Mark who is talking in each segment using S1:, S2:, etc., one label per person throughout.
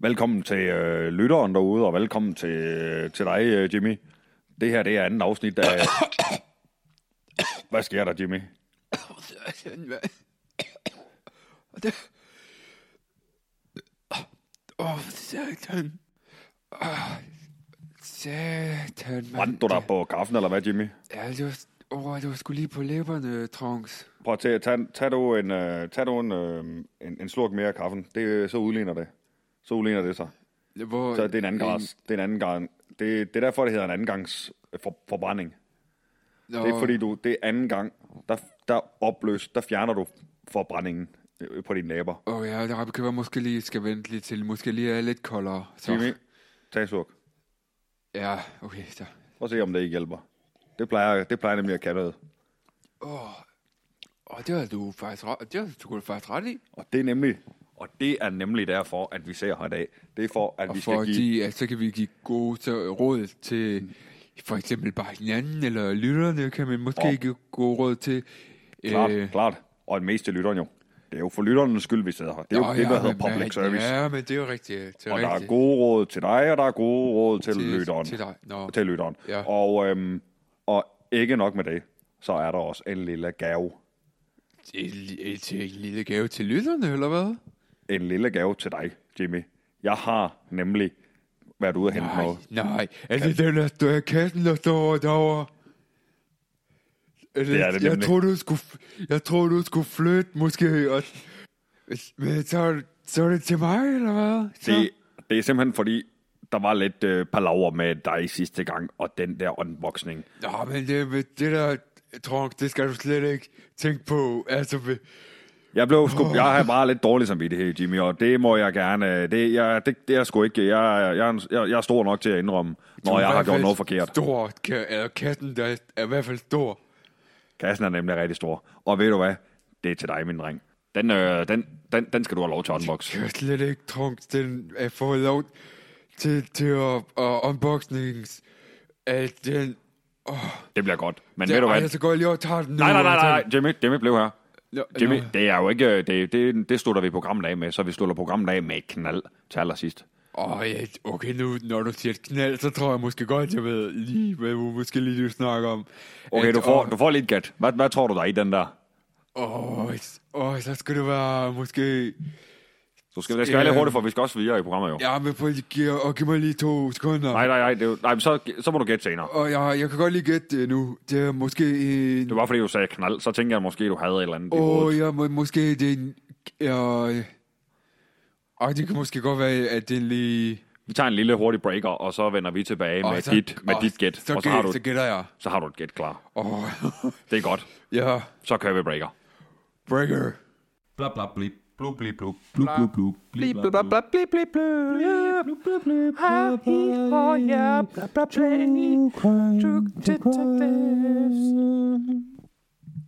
S1: Velkommen til øh, lytteren derude, og velkommen til, øh, til dig, øh, Jimmy. Det her, det er anden afsnit af... Hvad sker der, Jimmy?
S2: Åh, oh, satan. Åh, satan, mand.
S1: Brændte du dig på kaffen, eller hvad, Jimmy?
S2: Ja, det var, åh, det var sgu lige på læberne, Trunks.
S1: Prøv at tage, tag, tag du en, øh, tag du en, øh, en, en slurk mere af kaffen. Det, øh, så udligner det. Så udligner det sig.
S2: Hvor,
S1: Så det er en anden græs. Det er en anden gang. Det, det er derfor, det hedder en anden gangs øh, for, forbrænding.
S2: Nå,
S1: Det er fordi, du, det er anden gang, der, der opløs, der fjerner du forbrændingen øh, på dine læber.
S2: Åh ja, der kan være måske lige skal vente lidt til. Måske lige er lidt koldere. Så.
S1: Jimmy, tag en slurk.
S2: Ja, okay, så.
S1: Prøv at se, om det ikke hjælper. Det plejer, det plejer nemlig at kan noget.
S2: Åh, det har du faktisk ret, det har du sgu faktisk ret i.
S1: Og det er nemlig, og det er nemlig derfor, at vi ser her i dag. Det er for, at
S2: Og
S1: vi skal
S2: fordi,
S1: give...
S2: at så kan vi give gode så- råd til for eksempel bare hinanden eller lytterne, kan man måske
S1: Åh.
S2: give gode råd til.
S1: Klart, øh... klart. Og en mest til lytteren jo. Det er jo for lytternes skyld, vi sidder her. Det er jo
S2: Nå,
S1: det, der
S2: ja,
S1: hedder
S2: men
S1: public
S2: hvad-
S1: service.
S2: Ja, men det er jo rigtigt. Det er
S1: Og der er
S2: rigtigt.
S1: gode råd til dig, og der er gode råd til, til
S2: Til-
S1: lytteren.
S2: til dig. Nå.
S1: Til lytteren.
S2: Ja.
S1: Og, øhm, og ikke nok med det, så er der også en lille gave.
S2: Et, li- et, et lille gave til lytterne, eller hvad?
S1: En lille gave til dig, Jimmy. Jeg har nemlig været ude og hente
S2: Nej,
S1: noget.
S2: nej. Er det den, der står i kassen, der står derovre? Er
S1: Det er det
S2: jeg
S1: nemlig.
S2: tror, du skulle, jeg tror, du skulle flytte, måske. Og, men så, så er det til mig, eller hvad? Så,
S1: Det, det er simpelthen fordi, der var lidt øh, palaver med dig sidste gang, og den der unboxing.
S2: Nå, men det, men det der, Trunk, det skal du slet ikke tænke på. Altså, vi-
S1: Jeg blev sgu, jeg har bare lidt dårlig samvittighed, Jimmy, og det må jeg gerne, øh, det, jeg, det, det er jeg sgu ikke, jeg, jeg, jeg, er- jeg er stor nok til at indrømme, når
S2: du er
S1: jeg
S2: i
S1: har
S2: hvert
S1: gjort
S2: fald
S1: noget forkert.
S2: Stor, ka- eller katten, der er i hvert fald stor.
S1: Kassen er nemlig rigtig stor. Og ved du hvad? Det er til dig, min dreng. Den, øh, den, den, den skal du have lov til at unbox.
S2: Jeg er slet ikke Trunk, den er fået lov til, til at, at unboxnings af den
S1: Det bliver godt. Men
S2: Det,
S1: ved du
S2: ej,
S1: hvad?
S2: jeg så går jeg lige og tager den nu.
S1: Nej, nej, nej,
S2: og så-
S1: nej, nej. Jimmy, Jimmy, blev her.
S2: Nå,
S1: Jimmy,
S2: nå.
S1: det er jo ikke... øh, Det, det, det slutter vi programmet af med, så vi slutter programmet af med et knald til allersidst.
S2: Åh, ja, okay, nu, når du siger et knald, så tror jeg måske godt, jeg ved lige, hvad du måske lige vil snakke om.
S1: Okay,
S2: At-
S1: du får, du får lidt gat. Hvad, hvad tror du, der er i den der?
S2: Åh, åh, s- åh, så skal det være måske...
S1: Du skal, det skal være lidt hurtigt, for vi skal også videre i programmet jo.
S2: Øh, Ja, men prøv lige at give, og giv mig lige to sekunder.
S1: Nej, nej, nej. Det, er jo- nej men så, så må du gætte senere.
S2: Og jeg, jeg kan godt lige gætte det nu. Det er måske en...
S1: Det var fordi, du sagde knald, så tænker jeg måske, du havde et eller andet i
S2: Åh,
S1: hovedet.
S2: ja, må, måske det er en... Ja, og det kan måske godt være, at det er en lige...
S1: Vi tager en lille hurtig breaker, og så vender vi tilbage
S2: Åh,
S1: med,
S2: så-
S1: dit, med
S2: åh,
S1: dit gæt.
S2: Så,
S1: Og så har, du,
S2: så gætter jeg.
S1: så har du et gæt klar.
S2: Åh,
S1: Det er godt.
S2: ja.
S1: Så kører vi breaker.
S2: Breaker.
S3: Bla bla blip, blu bli blu, blu blu blu, bli bla blu.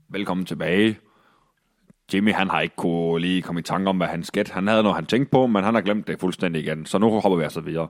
S1: Velkommen tilbage. Jimmy, han har ikke kunne lige komme i tanke om, hvad han skæt. Han havde noget, han tænkte på, men han har glemt det fuldstændig igen. Så nu hopper vi altså videre.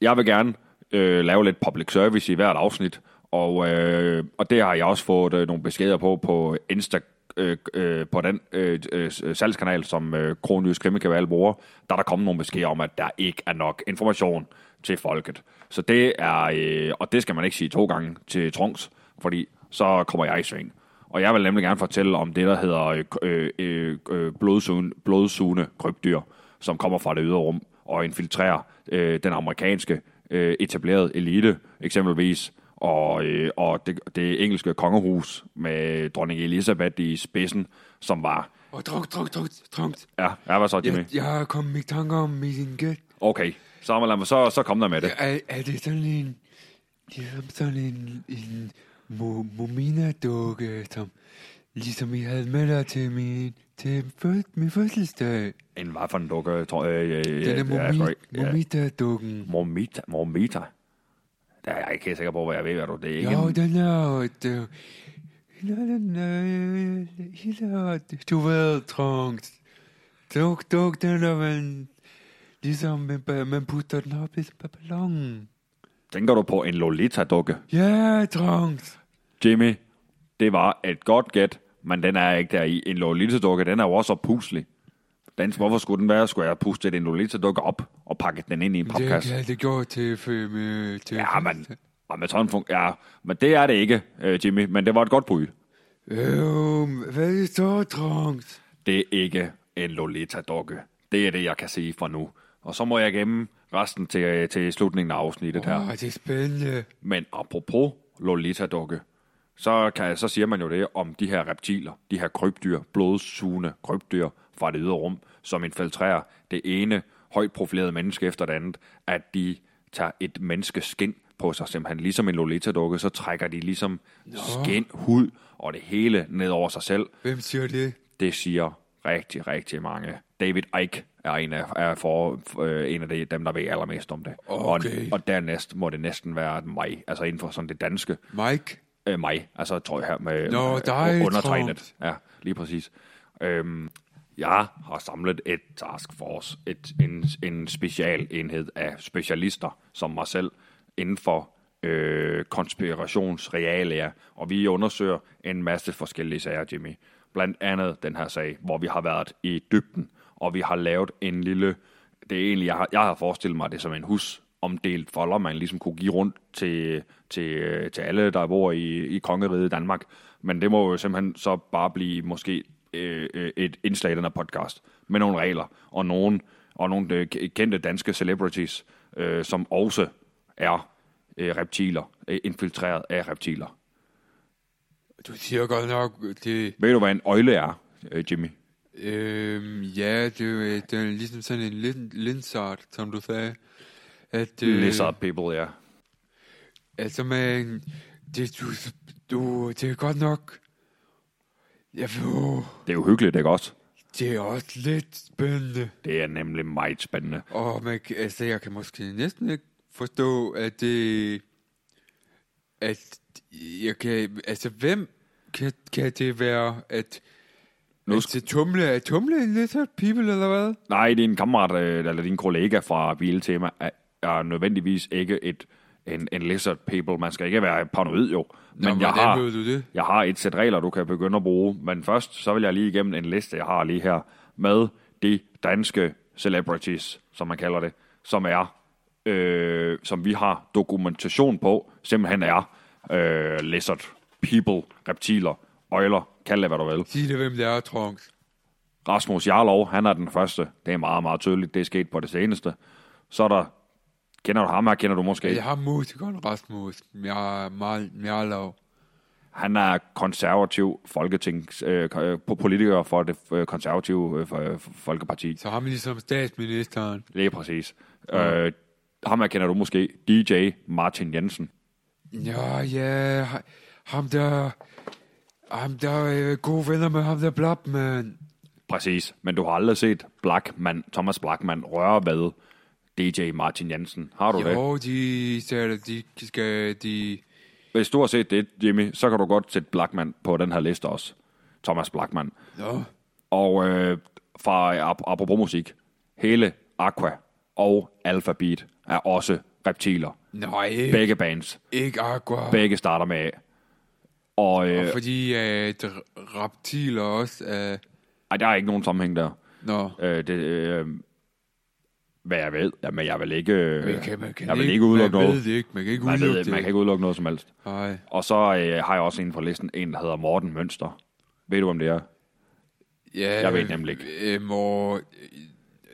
S1: Jeg vil gerne øh, lave lidt public service i hvert afsnit, og, øh, og det har jeg også fået øh, nogle beskeder på på Insta, øh, øh, på den øh, øh, salgskanal, som øh, Kronjys Krimikabal bruger. Der er der kommet nogle beskeder om, at der ikke er nok information til folket. Så det er, øh, og det skal man ikke sige to gange til Trunks, fordi så kommer jeg i sving. Og jeg vil nemlig gerne fortælle om det, der hedder øh, øh, øh, øh, blodsugende, blodsugende krybdyr, som kommer fra det ydre rum og infiltrerer øh, den amerikanske øh, etablerede elite, eksempelvis, og, øh, og det, det engelske kongehus med dronning Elisabeth i spidsen, som var...
S2: Og drunk, drunk, drunk, drunk.
S1: Ja, ja hvad så, Jimmy?
S2: Jeg, jeg er kommet i tanker om min gæt.
S1: Okay, så, lad mig, så, så kom der med det.
S2: Er, er det sådan en... Det er som sådan en, en mo, Momina-dukke, som ligesom I havde med dig til min, til fød, min fødselsdag.
S1: En hvad for en dukke, tror jeg... Øh, øh,
S2: Den er
S1: ja, sorry.
S2: momi,
S1: Ja.
S2: Momita-dukken.
S1: Mormita, Mormita. Der er jeg ikke helt sikker på, hvad jeg ved, hvad du... Det er ikke
S2: Jo,
S1: en-
S2: den er jo et... øh, Den er den øh, hele... Du ved, Trunks. Duk, duk, den er man... Ligesom man, man putter den op i ballonen.
S1: Tænker du på en Lolita-dukke?
S2: Ja, Trunks.
S1: Jimmy, det var et godt gæt, men den er ikke der i. En Lolita-dukke, den er jo også opuslig. Dans, hvorfor skulle den være? Skulle jeg puste et indolita dukke op og pakke den ind i en
S2: Det,
S1: papkasse?
S2: det, det gjorde til... Med, til
S1: Ja, men, ja, men, sådan fun- ja, men det er det ikke, øh, Jimmy. Men det var et godt bud.
S2: Øhm, hvad er det så, Trunks?
S1: Det er ikke en Lolita-dukke. Det er det, jeg kan sige fra nu. Og så må jeg gemme resten til, øh, til slutningen af afsnittet her.
S2: Åh, det er spændende.
S1: Men apropos Lolita-dukke, så, kan, så siger man jo det om de her reptiler, de her krybdyr, blodsugende krybdyr fra det ydre rum, som infiltrerer det ene højt profilerede menneske efter det andet, at de tager et menneskeskin på sig, simpelthen ligesom en Lolita-dukke, så trækker de ligesom skin, hud og det hele ned over sig selv,
S2: Hvem siger det?
S1: det siger rigtig, rigtig mange. David Icke er en af, er for, øh, en af de, dem, der ved allermest om det.
S2: Okay.
S1: Og, og dernæst må det næsten være mig, altså inden for sådan det danske
S2: Mike?
S1: øh, mig, altså tror jeg her med
S2: Nå,
S1: øh,
S2: dig,
S1: undertegnet. Ja, lige præcis. Øhm, jeg har samlet et taskforce, et, en, en specialenhed af specialister, som mig selv, inden for øh, konspirationsrealier, og vi undersøger en masse forskellige sager, Jimmy. Blandt andet den her sag, hvor vi har været i dybden, og vi har lavet en lille, det er egentlig, jeg har, jeg har forestillet mig det som en hus, omdelt folder, man ligesom kunne give rundt til, til, til alle, der bor i, i kongeriget Danmark. Men det må jo simpelthen så bare blive måske øh, øh, et indslag i den her podcast med nogle regler og nogle, og nogle øh, ke- kendte danske celebrities, øh, som også er øh, reptiler, øh, infiltreret af reptiler.
S2: Du siger godt nok, det...
S1: Ved du, hvad en øjle er, øh, Jimmy?
S2: Øhm, ja, det, er jo, øh, det er ligesom sådan en lin, linsart, som du sagde. At,
S1: Øh. Lizard people, ja.
S2: Altså, man... Det, du, du, det er godt nok... Jeg ved,
S1: Det er jo hyggeligt, ikke også?
S2: det er også lidt spændende.
S1: Det er nemlig meget spændende.
S2: Og man, kan- altså, jeg kan måske næsten ikke forstå, at det... At jeg kan... Altså, hvem kan, kan det være, at...
S1: Nu
S2: Nu skal... Tumle, er Tumle en lizard people, eller hvad?
S1: Nej, din kammerat øh, eller din kollega fra Biltema er, er nødvendigvis ikke et en, en lizard people. Man skal ikke være paranoid jo. Men
S2: Nå,
S1: jeg
S2: hvordan
S1: har,
S2: ved du det?
S1: jeg har et sæt regler, du kan begynde at bruge. Men først, så vil jeg lige igennem en liste, jeg har lige her, med de danske celebrities, som man kalder det, som er, øh, som vi har dokumentation på, simpelthen er øh, lizard people, reptiler, øjler, kald det hvad du vil.
S2: Sig det, hvem det er, Trunks.
S1: Rasmus Jarlov, han er den første. Det er meget, meget tydeligt. Det er sket på det seneste. Så er der... Kender du ham her? Kender du måske?
S2: Jeg har musikeren Rasmus Mjar- Mar- Mjarlov.
S1: Han er konservativ folketings... Øh, ko- øh, politiker for det øh, konservative øh, for- øh, folkeparti.
S2: Så har man ligesom statsministeren.
S1: Lige præcis. Øh, ham her kender du måske. DJ Martin Jensen.
S2: Ja, ja, ha- ham der... Ham der er øh, gode venner med ham der Blabman.
S1: Præcis. Men du har aldrig set Blackman, Thomas Blackman røre ved DJ Martin Jensen. Har du det?
S2: Jo, de sagde, at de skal... De,
S1: Hvis du har set det, Jimmy, så kan du godt sætte Blackman på den her liste også. Thomas Blackman.
S2: Nå,
S1: Og øh, fra ap- apropos musik, hele Aqua og Alphabet er også reptiler.
S2: nej,
S1: Begge bands,
S2: ikke Aqua.
S1: begge starter med A. Og øh,
S2: Fordi at reptiler også er...
S1: ej, der er ikke nogen sammenhæng der.
S2: Nå,
S1: Øh, det, øh, hvad jeg ved, jamen jeg vil ikke,
S2: man
S1: øh,
S2: kan, man kan
S1: jeg vil
S2: ikke,
S1: ikke udelukke
S2: man
S1: noget.
S2: ved det ikke, man kan ikke
S1: man,
S2: udelukke
S1: ved,
S2: det.
S1: man kan ikke udelukke noget som helst.
S2: Nej,
S1: Og så øh, har jeg også en på listen, en der hedder Morten Mønster. Ved du, hvem det er?
S2: ja,
S1: Jeg ved nemlig ikke.
S2: Øhm, og, øh,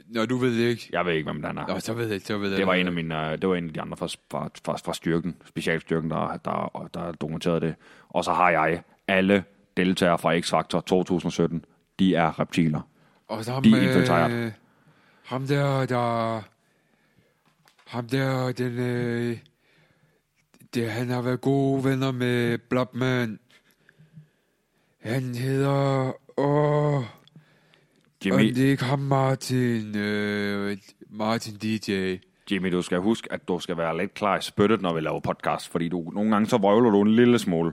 S2: når du ved det ikke,
S1: Jeg ved ikke, hvem den er.
S2: Nå, så ved jeg, så ved jeg.
S1: Det var en af mine, øh, det var en af de andre fra, fra, fra, fra styrken, specialstyrken, der, der, der dokumenterede det. Og så har jeg alle deltagere fra X-Factor 2017. De er reptiler.
S2: Og så ham,
S1: De er
S2: øh,
S1: infiltreret.
S2: ham der, der... Ham der, den... Øh, det, han har været gode venner med Blobman. Han hedder... Åh, om
S1: Jimmy,
S2: det er ikke ham Martin, øh, Martin DJ.
S1: Jimmy, du skal huske, at du skal være lidt klar i spyttet, når vi laver podcast, fordi du, nogle gange så vrøvler du en lille smule.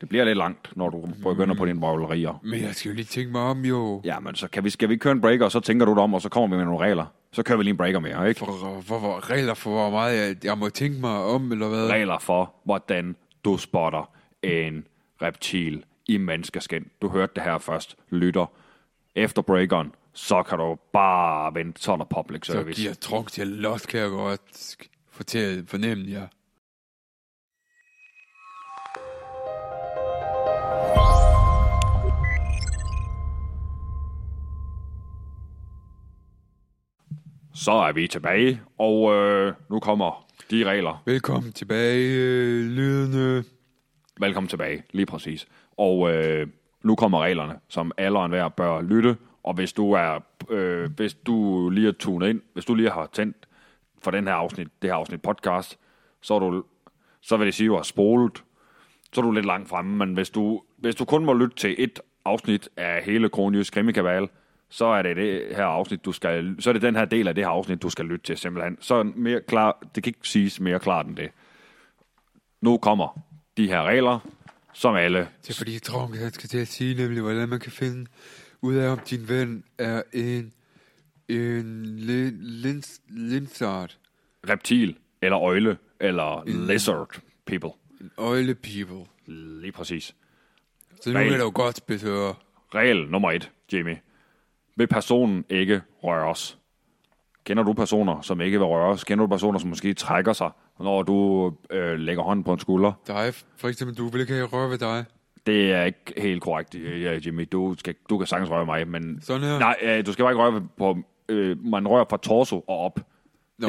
S1: Det bliver lidt langt, når du begynder på dine vrøvlerier.
S2: Men jeg skal jo lige tænke mig om, jo.
S1: Jamen, så kan vi, skal vi ikke køre en breaker, og så tænker du dig om, og så kommer vi med nogle regler. Så kører vi lige en breaker mere, ikke?
S2: For, for, for, regler for, hvor meget jeg, jeg må tænke mig om, eller hvad?
S1: regler for, hvordan du spotter en reptil i menneskeskin. Du hørte det her først, lytter. Efter breakeren, så kan du bare vente, så er der public
S2: Så
S1: service.
S2: giver druk til los, kan jeg godt sk- fortælle, fornemme jer.
S1: Så er vi tilbage, og øh, nu kommer de regler.
S2: Velkommen tilbage, øh, lydende.
S1: Velkommen tilbage, lige præcis. Og øh, nu kommer reglerne, som alle og enhver bør lytte. Og hvis du er, øh, hvis du lige er tunet ind, hvis du lige har tændt for den her afsnit, det her afsnit podcast, så, er du, så vil det sige, at du har spolet. Så er du lidt langt fremme, men hvis du, hvis du kun må lytte til et afsnit af hele Kronjys Krimikabal, så er det det her afsnit, du skal, så er det den her del af det her afsnit, du skal lytte til simpelthen. Så mere klar, det kan ikke siges mere klart end det nu kommer de her regler, som alle...
S2: Det er fordi, drunk, han skal til at sige nemlig, hvordan man kan finde ud af, om din ven er en, en lin, lins, linsart,
S1: Reptil, eller øjle, eller
S2: Mm.
S1: lizard people.
S2: en øjle people.
S1: Lige præcis.
S2: Så nu
S1: Regel.
S2: kan du godt spidse ører.
S1: Regel nummer et, Jimmy. Vil personen ikke røres? Kender du personer, som ikke vil røres? Kender du personer, som måske trækker sig, når du øh, lægger hånden på en skulder?
S2: Dig, for eksempel, du vil ikke have røre ved dig.
S1: Det er ikke helt korrekt, øh, Jimmy. Du, skal, du kan sagtens røre mig, men...
S2: Sådan her.
S1: Nej, øh, du skal bare ikke røre på... Øh, man rører fra torso og op. Nå.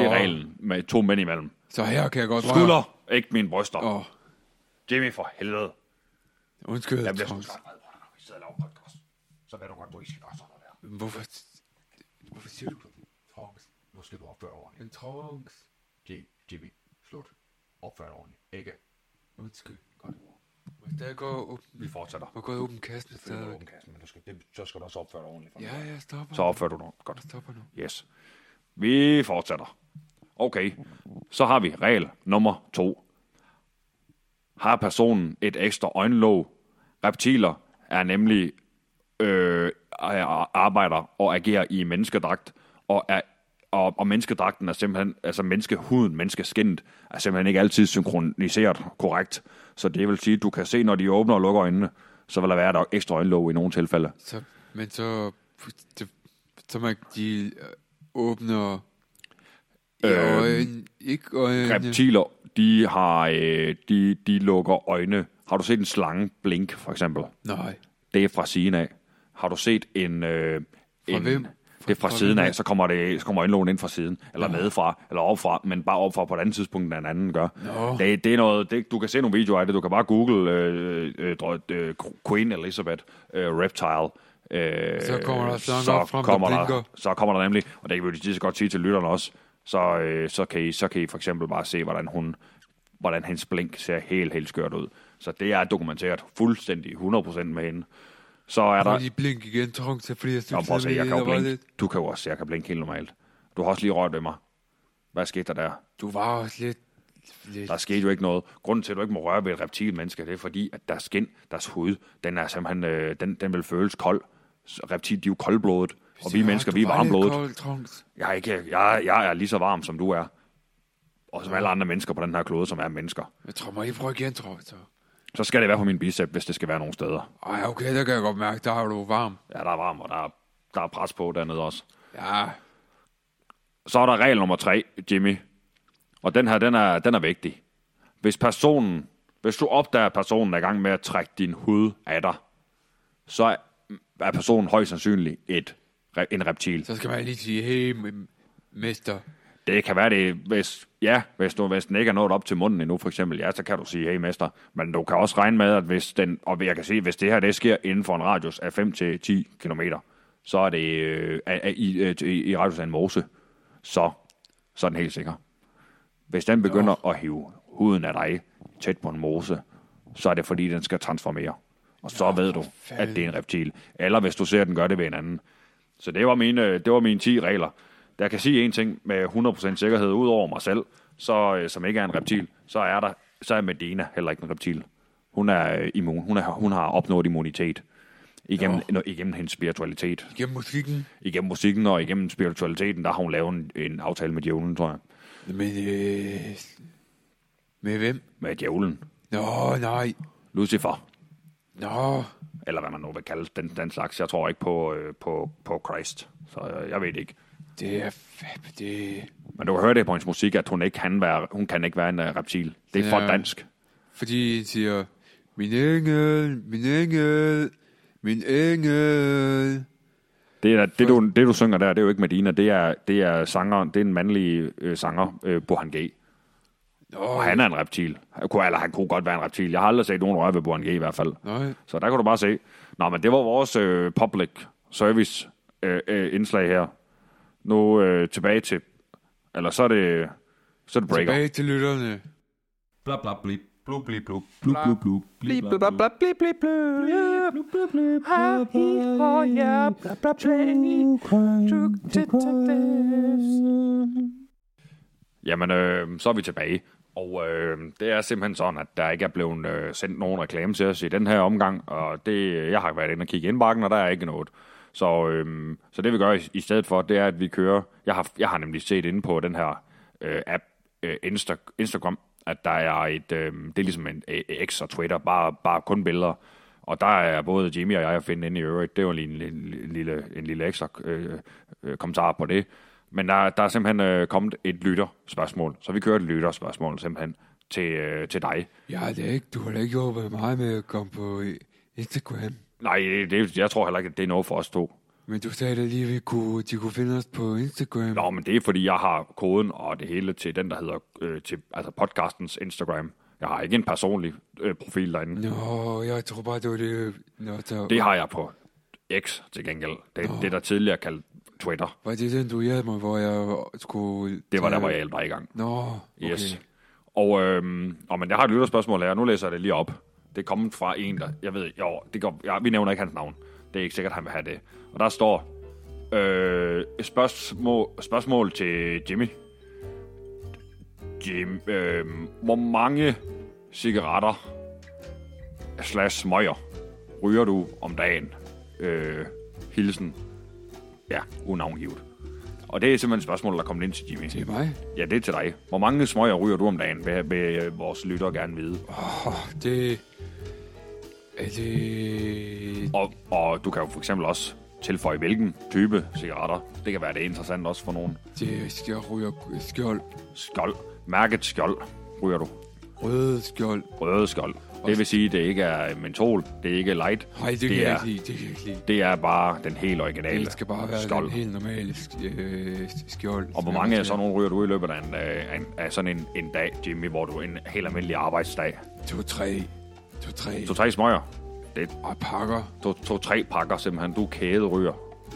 S1: Det
S2: Nå.
S1: er reglen med to mænd imellem.
S2: Så her kan jeg godt røre.
S1: Skulder, ikke mine bryster.
S2: Åh,
S1: Jimmy, for helvede.
S2: undskyld,
S1: Jeg bliver sgu
S2: Trunks.
S1: så vred på dig, når vi sidder og laver podcast. Så ved du godt, du ikke skal gøre sådan noget der.
S2: Hvorfor, hvorfor siger du Trunks?
S1: Nu skal du opføre dig ordentligt.
S2: En Trunks.
S1: Jim- Jimmy, slut. Opfør dig ordentligt. Ikke?
S2: Undskyld. Godt. Der går åben,
S1: Vi fortsætter.
S2: og går åben kassen
S1: Det er
S2: stadigvæk.
S1: åben kasse, men du skal, det, så skal du også opføre dig ordentligt. for
S2: Ja,
S1: mig.
S2: jeg stopper.
S1: Så opfører du dig ordentligt. Godt.
S2: Jeg stopper nu.
S1: Yes. Vi fortsætter. Okay, så har vi regel nummer to. Har personen et ekstra øjenlåg? Reptiler er nemlig øh, ar- arbejder og agerer i menneskedragt, og, er, og, og menneskedragten er simpelthen, altså menneskehuden, menneskeskindet, er simpelthen ikke altid synkroniseret korrekt. Så det vil sige, at du kan se, når de åbner og lukker øjnene, så vil der være et ekstra øjenlåg i nogle tilfælde.
S2: Så, men så, det, så man de øh, åbner i
S1: Øhm,
S2: øjnene, ikke øjnene.
S1: Øh, Reptiler, de har, øh, de, de lukker øjne. Har du set en slange blink, for eksempel?
S2: Nej.
S1: Det er fra siden af. Har du set en... Øh,
S2: Fra
S1: en
S2: hvem?
S1: Det er fra,
S2: Fra- fra
S1: siden
S2: hvem?
S1: af, så kommer, det, så kommer øjenlågen ind fra siden, eller nedefra, eller opfra, men bare opfra på et andet tidspunkt, end en anden gør.
S2: Nå.
S1: Det, det er noget, det, du kan se nogle videoer af det, du kan bare google øh, øh, dro- øh, Queen Elizabeth øh, Reptile. Øh,
S2: Så kommer der slangen
S1: så
S2: op frem, der
S1: kommer
S2: blinker.
S1: der, så kommer der nemlig, og det kan vi jo lige så godt sige til lytterne også, så, øh, så, kan I, så kan I for eksempel bare se, hvordan hun hvordan hendes blink ser helt, helt skørt ud. Så det er dokumenteret fuldstændig 100% med hende. Så er
S2: Prøv
S1: der...
S2: lige blink igen, Trunk, så fordi jeg
S1: Nå,
S2: synes,
S1: prøv at se, jeg kan jo
S2: var
S1: blinke. Du kan jo også, jeg kan blinke helt normalt. Du har også lige rørt ved mig. Hvad skete der der?
S2: Du var også lidt... lidt.
S1: Der skete jo ikke noget. Grunden til, at du ikke må røre ved et reptilmenneske, det er fordi, at deres skin, deres hud, den er simpelthen, øh, den, den vil føles kold. Så Reptil, de er jo koldblodet, og vi
S2: Ja,
S1: mennesker,
S2: du
S1: vi er
S2: var lidt
S1: varmblodet.
S2: kold, Trunks.
S1: Jeg er, ikke, jeg, jeg er lige så varm, som du er. Og som alle andre mennesker på den her klode, som er mennesker.
S2: Jeg tror, må I prøve igen, Trunks? så?
S1: Så skal det være på min bicep, hvis det skal være nogen steder.
S2: Ej, okay, der kan jeg godt mærke, der er du varm.
S1: Ja, der er varm, og der er, der er pres på dernede også.
S2: Ja,
S1: Så er der regel nummer tre, Jimmy. Og den her, den er, den er vigtig. Hvis personen, hvis du opdager, at personen er i gang med at trække din hud af dig, så er- er personen højst sandsynligt et, re- en reptil.
S2: så skal man lige sige, hey, m- mester.
S1: Det kan være det, hvis, ja, hvis, du, hvis den ikke er nået op til munden endnu, for eksempel, ja, så kan du sige, hey mester, men du kan også regne med, at hvis den, og jeg kan sige, hvis det her, det sker inden for en radius af 5-10 km, så er det øh, af- af- i, øh, i, i radius af en mose, så, så er den helt sikker. Hvis den begynder at hive huden af dig tæt på en mose, så er det fordi, den skal transformere. Og så ved du, at det er en reptil. Eller hvis du ser, at den gør det ved en anden. Så det var mine, øh, det var mine 10 regler. Jeg kan sige en ting med 100% sikkerhed, ud over mig selv, så, øh, som ikke er en reptil, så er, der, så er Medina heller ikke en reptil. Hun er øh, immun. Hun, er, hun har opnået immunitet. Igennem, no, igennem hendes spiritualitet.
S2: Gennem musikken.
S1: Igennem musikken og igennem spiritualiteten, der har hun lavet en, en aftale med djævlen, tror jeg.
S2: Men, øh, med hvem?
S1: Med djævlen.
S2: Nå, nej.
S1: Lucifer.
S2: Nå,
S1: Eller hvad man nu vil kalde den, den slags. Jeg tror ikke på, øh, på, på Christ. Så øh, jeg ved det ikke.
S2: Det er fandme det...
S1: Men du kan høre det på hendes musik, at hun ikke kan være, hun kan ikke være en øh, reptil. Det er for
S2: Ja.
S1: dansk.
S2: Fordi han siger, min engel, min engel, min engel.
S1: Det, er, det, du, det du synger der, det er jo ikke Medina, det er, det er sangeren, det er en mandlig øh, sanger, øh, Burhan G.
S2: Nå,
S1: Og han er en reptil. Han kunne, eller han kunne godt være en reptil. Jeg har aldrig set nogen røre ved Burhan G i hvert fald.
S2: Nej.
S1: Så der kan du bare se. Nå, men det var vores øh, public service øh, øh, indslag her. Nu øh, tilbage til, eller så er det, så er det breaker.
S2: Tilbage til lytterne.
S3: Bla bla blip. Blub blip blub.
S4: Blub, blub, blub.
S3: Blip blub blub.
S1: Jamen, øh, så er vi tilbage. Og øh, det er simpelthen sådan, at der ikke er blevet øh, sendt nogen reklame til os i den her omgang, og det, jeg har været inde og kigge i indbakken, og der er ikke noget. Så, øh, så det vi gør i, i stedet for, det er, at vi kører... Jeg har, jeg har nemlig set inde på den her øh, app, øh, Insta, Instagram, at der er et... Øh, det er ligesom en øh, X og Twitter, bare, bare kun billeder. Og der er både Jimmy og jeg at finde inde i øvrigt. Det var lige en, lille- lille, en lille ekstra øh, øh, kommentar på det. Men der, der er simpelthen øh, kommet et lytterspørgsmål. Så vi kører et lytterspørgsmål simpelthen til, øh, til dig.
S2: Jeg har da ikke, du har da ikke hjulpet mig med at komme på i- Instagram.
S1: Nej, det, jeg tror heller ikke, at det er noget for os to.
S2: Men du sagde da lige, at vi kunne, de kunne finde os på Instagram.
S1: Nå, men det er, fordi jeg har koden og det hele til den, der hedder øh, til, altså podcastens Instagram. Jeg har ikke en personlig øh, profil derinde.
S2: Nå, jeg tror bare, det var det. Nå, så, det...
S1: Det har jeg på X til gengæld. Det er det, der tidligere kaldt Twitter.
S2: Var det den, du hjalp mig, hvor jeg skulle...
S1: Det var der, hvor jeg hjalp dig i gang.
S2: Nå, okay.
S1: Yes. Og, øhm, og men jeg har et lytterspørgsmål her. Nu læser jeg det lige op. Det er kommet fra en, der... Jeg ved, jo, det går, ja, vi nævner ikke hans navn. Det er ikke sikkert, han vil have det. Og der står... Øh, spørgsmål, spørgsmål til Jimmy. Jim, øh, hvor mange cigaretter slash smøger ryger du om dagen? Øh, hilsen. Ja, unavngivet. Og det er simpelthen et spørgsmål, der er kommet ind til Jimmy.
S2: Det er mig.
S1: Ja, det er til dig. Hvor mange smøger ryger du om dagen, vil, vil øh, vores lyttere gerne vide.
S2: Det... Er det...
S1: Og, og du kan jo for eksempel også tilføje, hvilken type cigaretter. Det kan være, det er interessant også for nogen.
S2: Det skal jeg ryger skjold.
S1: Skjold. Mærket skjold ryger du.
S2: Røde skjold.
S1: Røde skjold. Det vil sige, det ikke er mentol, det er ikke light.
S2: Nej, det, det kan
S1: det,
S2: jeg
S1: er,
S2: ikke lide. Det kan jeg ikke lide.
S1: det er bare den helt originale
S2: Det skal bare være
S1: skjold.
S2: den helt normale sk- øh, skjold.
S1: Og hvor mange af sådan nogle ryger du i løbet af, en, øh, en, af sådan en, en dag, Jimmy, hvor du en helt almindelig arbejdsdag?
S2: To, tre. To, tre.
S1: To-tre smøger. Det er
S2: Og pakker.
S1: to-tre pakker simpelthen. Du er kæderyger.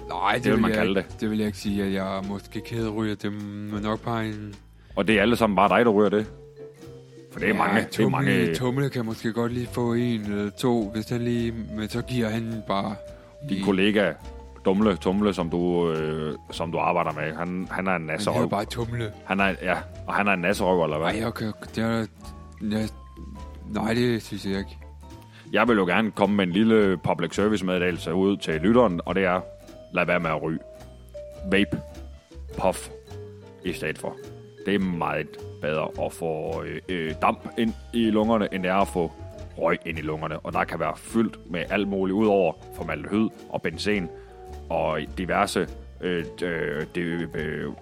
S2: Nej, det,
S1: vil man
S2: jeg,
S1: kalde
S2: ikke- Det vil jeg ikke sige, at jeg måske kæderyger dem med nok bare en...
S1: Og det er alle sammen bare dig, der ryger det? For det er ja, mange. Det er
S2: Tumle,
S1: mange.
S2: Tumle kan måske godt lige få en eller to, hvis han lige... Men så giver han bare...
S1: Din kollega, Dumle Tumle, som du, øh, som du arbejder med, han, han er en
S2: Han hedder
S1: nasserøv.
S2: bare Tumle.
S1: Han er, ja, og han er en nasserøv, eller hvad?
S2: Nej, jeg kan... Det er, jeg, nej, det synes jeg ikke.
S1: Jeg vil jo gerne komme med en lille public service meddelelse ud til lytteren, og det er, lad være med at ryge. Vape. Puff. I stedet for. Det er meget bedre at få øh, øh, damp ind i lungerne, end det er at få røg ind i lungerne. Og der kan være fyldt med alt muligt, udover formaldehyd og benzen og diverse øh, øh, det- øh, øh,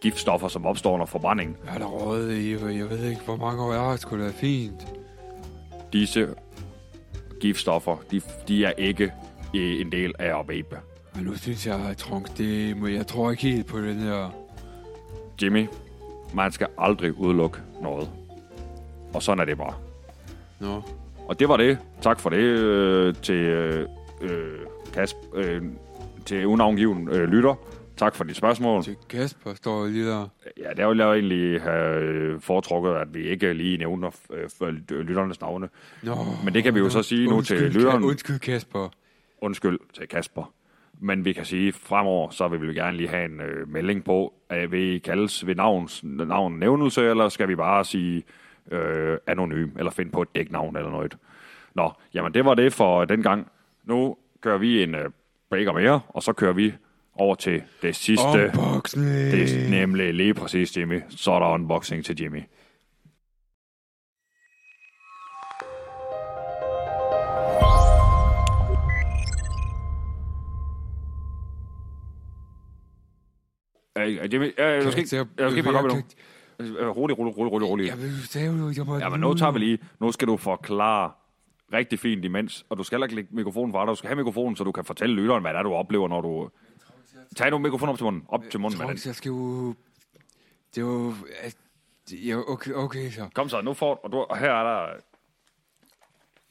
S1: giftstoffer, som opstår under forbrænding.
S2: Jeg har da rådet i, jeg ved ikke, hvor mange år jeg har. Det skulle da være fint.
S1: Disse giftstoffer, de, de er ikke øh, en del af at vape.
S2: Men nu synes jeg, at Trunk, det, men jeg tror ikke helt på den her...
S1: Jimmy, man skal aldrig udelukke noget. Og sådan er det bare.
S2: Nå,
S1: Og det var det. Tak for det øh, til øh, øh, Kasp, øh, til unavngiven øh, lytter. Tak for dit spørgsmål.
S2: til Kasper står jo lige der.
S1: Ja, der ville jeg egentlig have øh, foretrukket, at vi ikke lige nævner øh, for lytternes navne.
S2: Nå,
S1: Men det kan vi jo så sige nu til
S2: undskyld, Ka-
S1: lytteren.
S2: Undskyld, Kasper.
S1: undskyld til Kasper. Men vi kan sige, at fremover, så vil vi gerne lige have en øh, melding på, øh, vil I kaldes ved navns, navn nævnelse, eller skal vi bare sige øh, anonym, eller finde på et dæknavn eller noget. Nå, jamen det var det for den gang. Nu kører vi en øh, breaker mere, og så kører vi over til det sidste.
S2: Unboxing!
S1: Det er nemlig lige præcis Jimmy. Så er der unboxing til Jimmy. Øh, Jimmy, øh, jeg skal ikke,
S2: jeg-
S1: jeg skal ikke pakke op endnu.
S2: jeg
S1: Øh, Rolig, rolig, rolig, rolig, rolig.
S2: Jeg vil jo, jeg må...
S1: Ja, men nu tager vi lige. Nu skal du forklare rigtig fint imens, og du skal heller ikke lægge mikrofonen fra dig. Du skal have mikrofonen, så du kan fortælle lytteren, hvad det er, du oplever, når du... Tag nu mikrofonen op til munden. Op til munden med den.
S2: Trunks, jeg skal jo... Det er jo... at- Ja, okay, okay så.
S1: Kom så, nu får og du... Og her er der...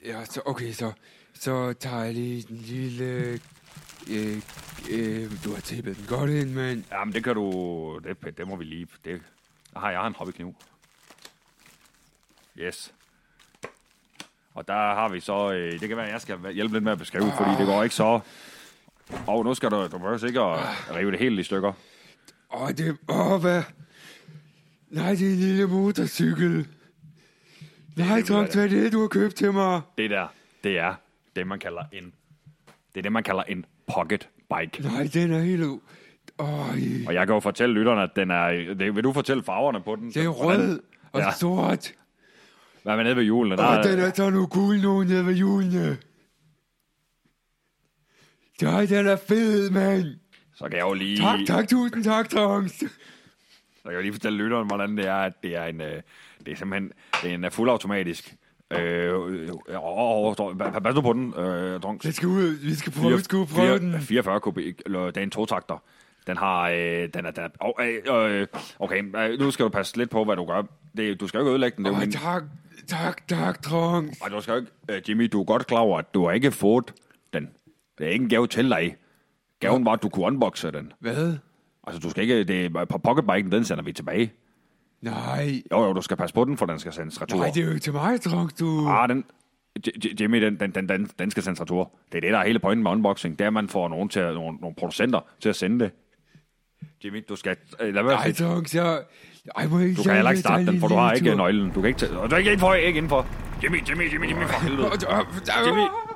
S2: Ja, så okay så. Så tager jeg lige den lille... Øh, øh, du har tippet den godt ind, mand.
S1: Jamen, det kan du... Det, pænt, det må vi lige... Det... Aha, jeg har en hobbykniv. Yes. Og der har vi så... Øh, det kan være, at jeg skal hjælpe lidt med at beskrive, fordi det går ikke så... Og nu skal du... Du behøver sikkert rive det helt i stykker.
S2: Åh, det... Åh, hvad? Nej, det er en lille motorcykel. Nej,
S1: det,
S2: Trunks,
S1: hvad
S2: hvad er det, du har købt til mig?
S1: Det der, det er det, man kalder en... Det er det, man kalder en pocket bike.
S2: Nej, den er helt... u- Åh,
S1: Og jeg kan jo fortælle lytterne, at den er... Det, vil du fortælle farverne på den?
S2: det er rød og
S1: Ja.
S2: sort.
S1: Hvad er med nede ved hjulene? Der
S2: Og den
S1: er,
S2: er så nu gul nu nede ved julene. Nej, den er fed, mand.
S1: så kan jeg jo lige...
S2: Tak, tak, tusind tak, Trunks.
S1: Så kan jeg lige fortælle lytteren, hvordan det er, at det er en, øh, det er simpelthen det er en øh, fuldautomatisk. Øh, øh, øh, åh, åh, pas- pas nu på den, øh, drunk.
S2: Den skal ud, vi skal prøve, vi skal ud og prøve den.
S1: 44 kubik, eller det er en totakter. Den har, øh, den er, den er, åh, øh, øh, okay, øh, nu skal du passe lidt på, hvad du gør. Det, du skal jo ikke ødelægge den, det er jo
S2: Åh,
S1: min,
S2: tak, tak, tak, Trunks.
S1: Ej, du skal jo ikke, øh, Jimmy, du er godt klar over, at du har ikke fået den. Det er ikke en gave til dig. Gaven var, at du kunne unboxe den.
S2: Hvad?
S1: Altså, du skal ikke, det, på pocketbiken, den sender vi tilbage.
S2: Nej,
S1: Jo, jo, du skal passe på den, for den skal sendes retur.
S2: nej, det er jo ikke til mig, Trunks, du.
S1: Ah, den, J- J- Jimmy, den, den, den, den, den skal sendes retur. Det er det, der er hele pointen med unboxing. Det er, at man får nogen til at, nogle, nogle producenter til at sende det. Jimmy, du skal... Øh, lad være,
S2: Nej, Trunks, jeg... Ej, må jeg ikke
S1: du kan heller ikke starte den, for du har ikke
S2: nøj.
S1: nøglen. Du kan ikke tage... Og du er ikke indenfor, ikke indenfor. Jimmy, Jimmy, Jimmy, Jimmy, for helvede. Jimmy,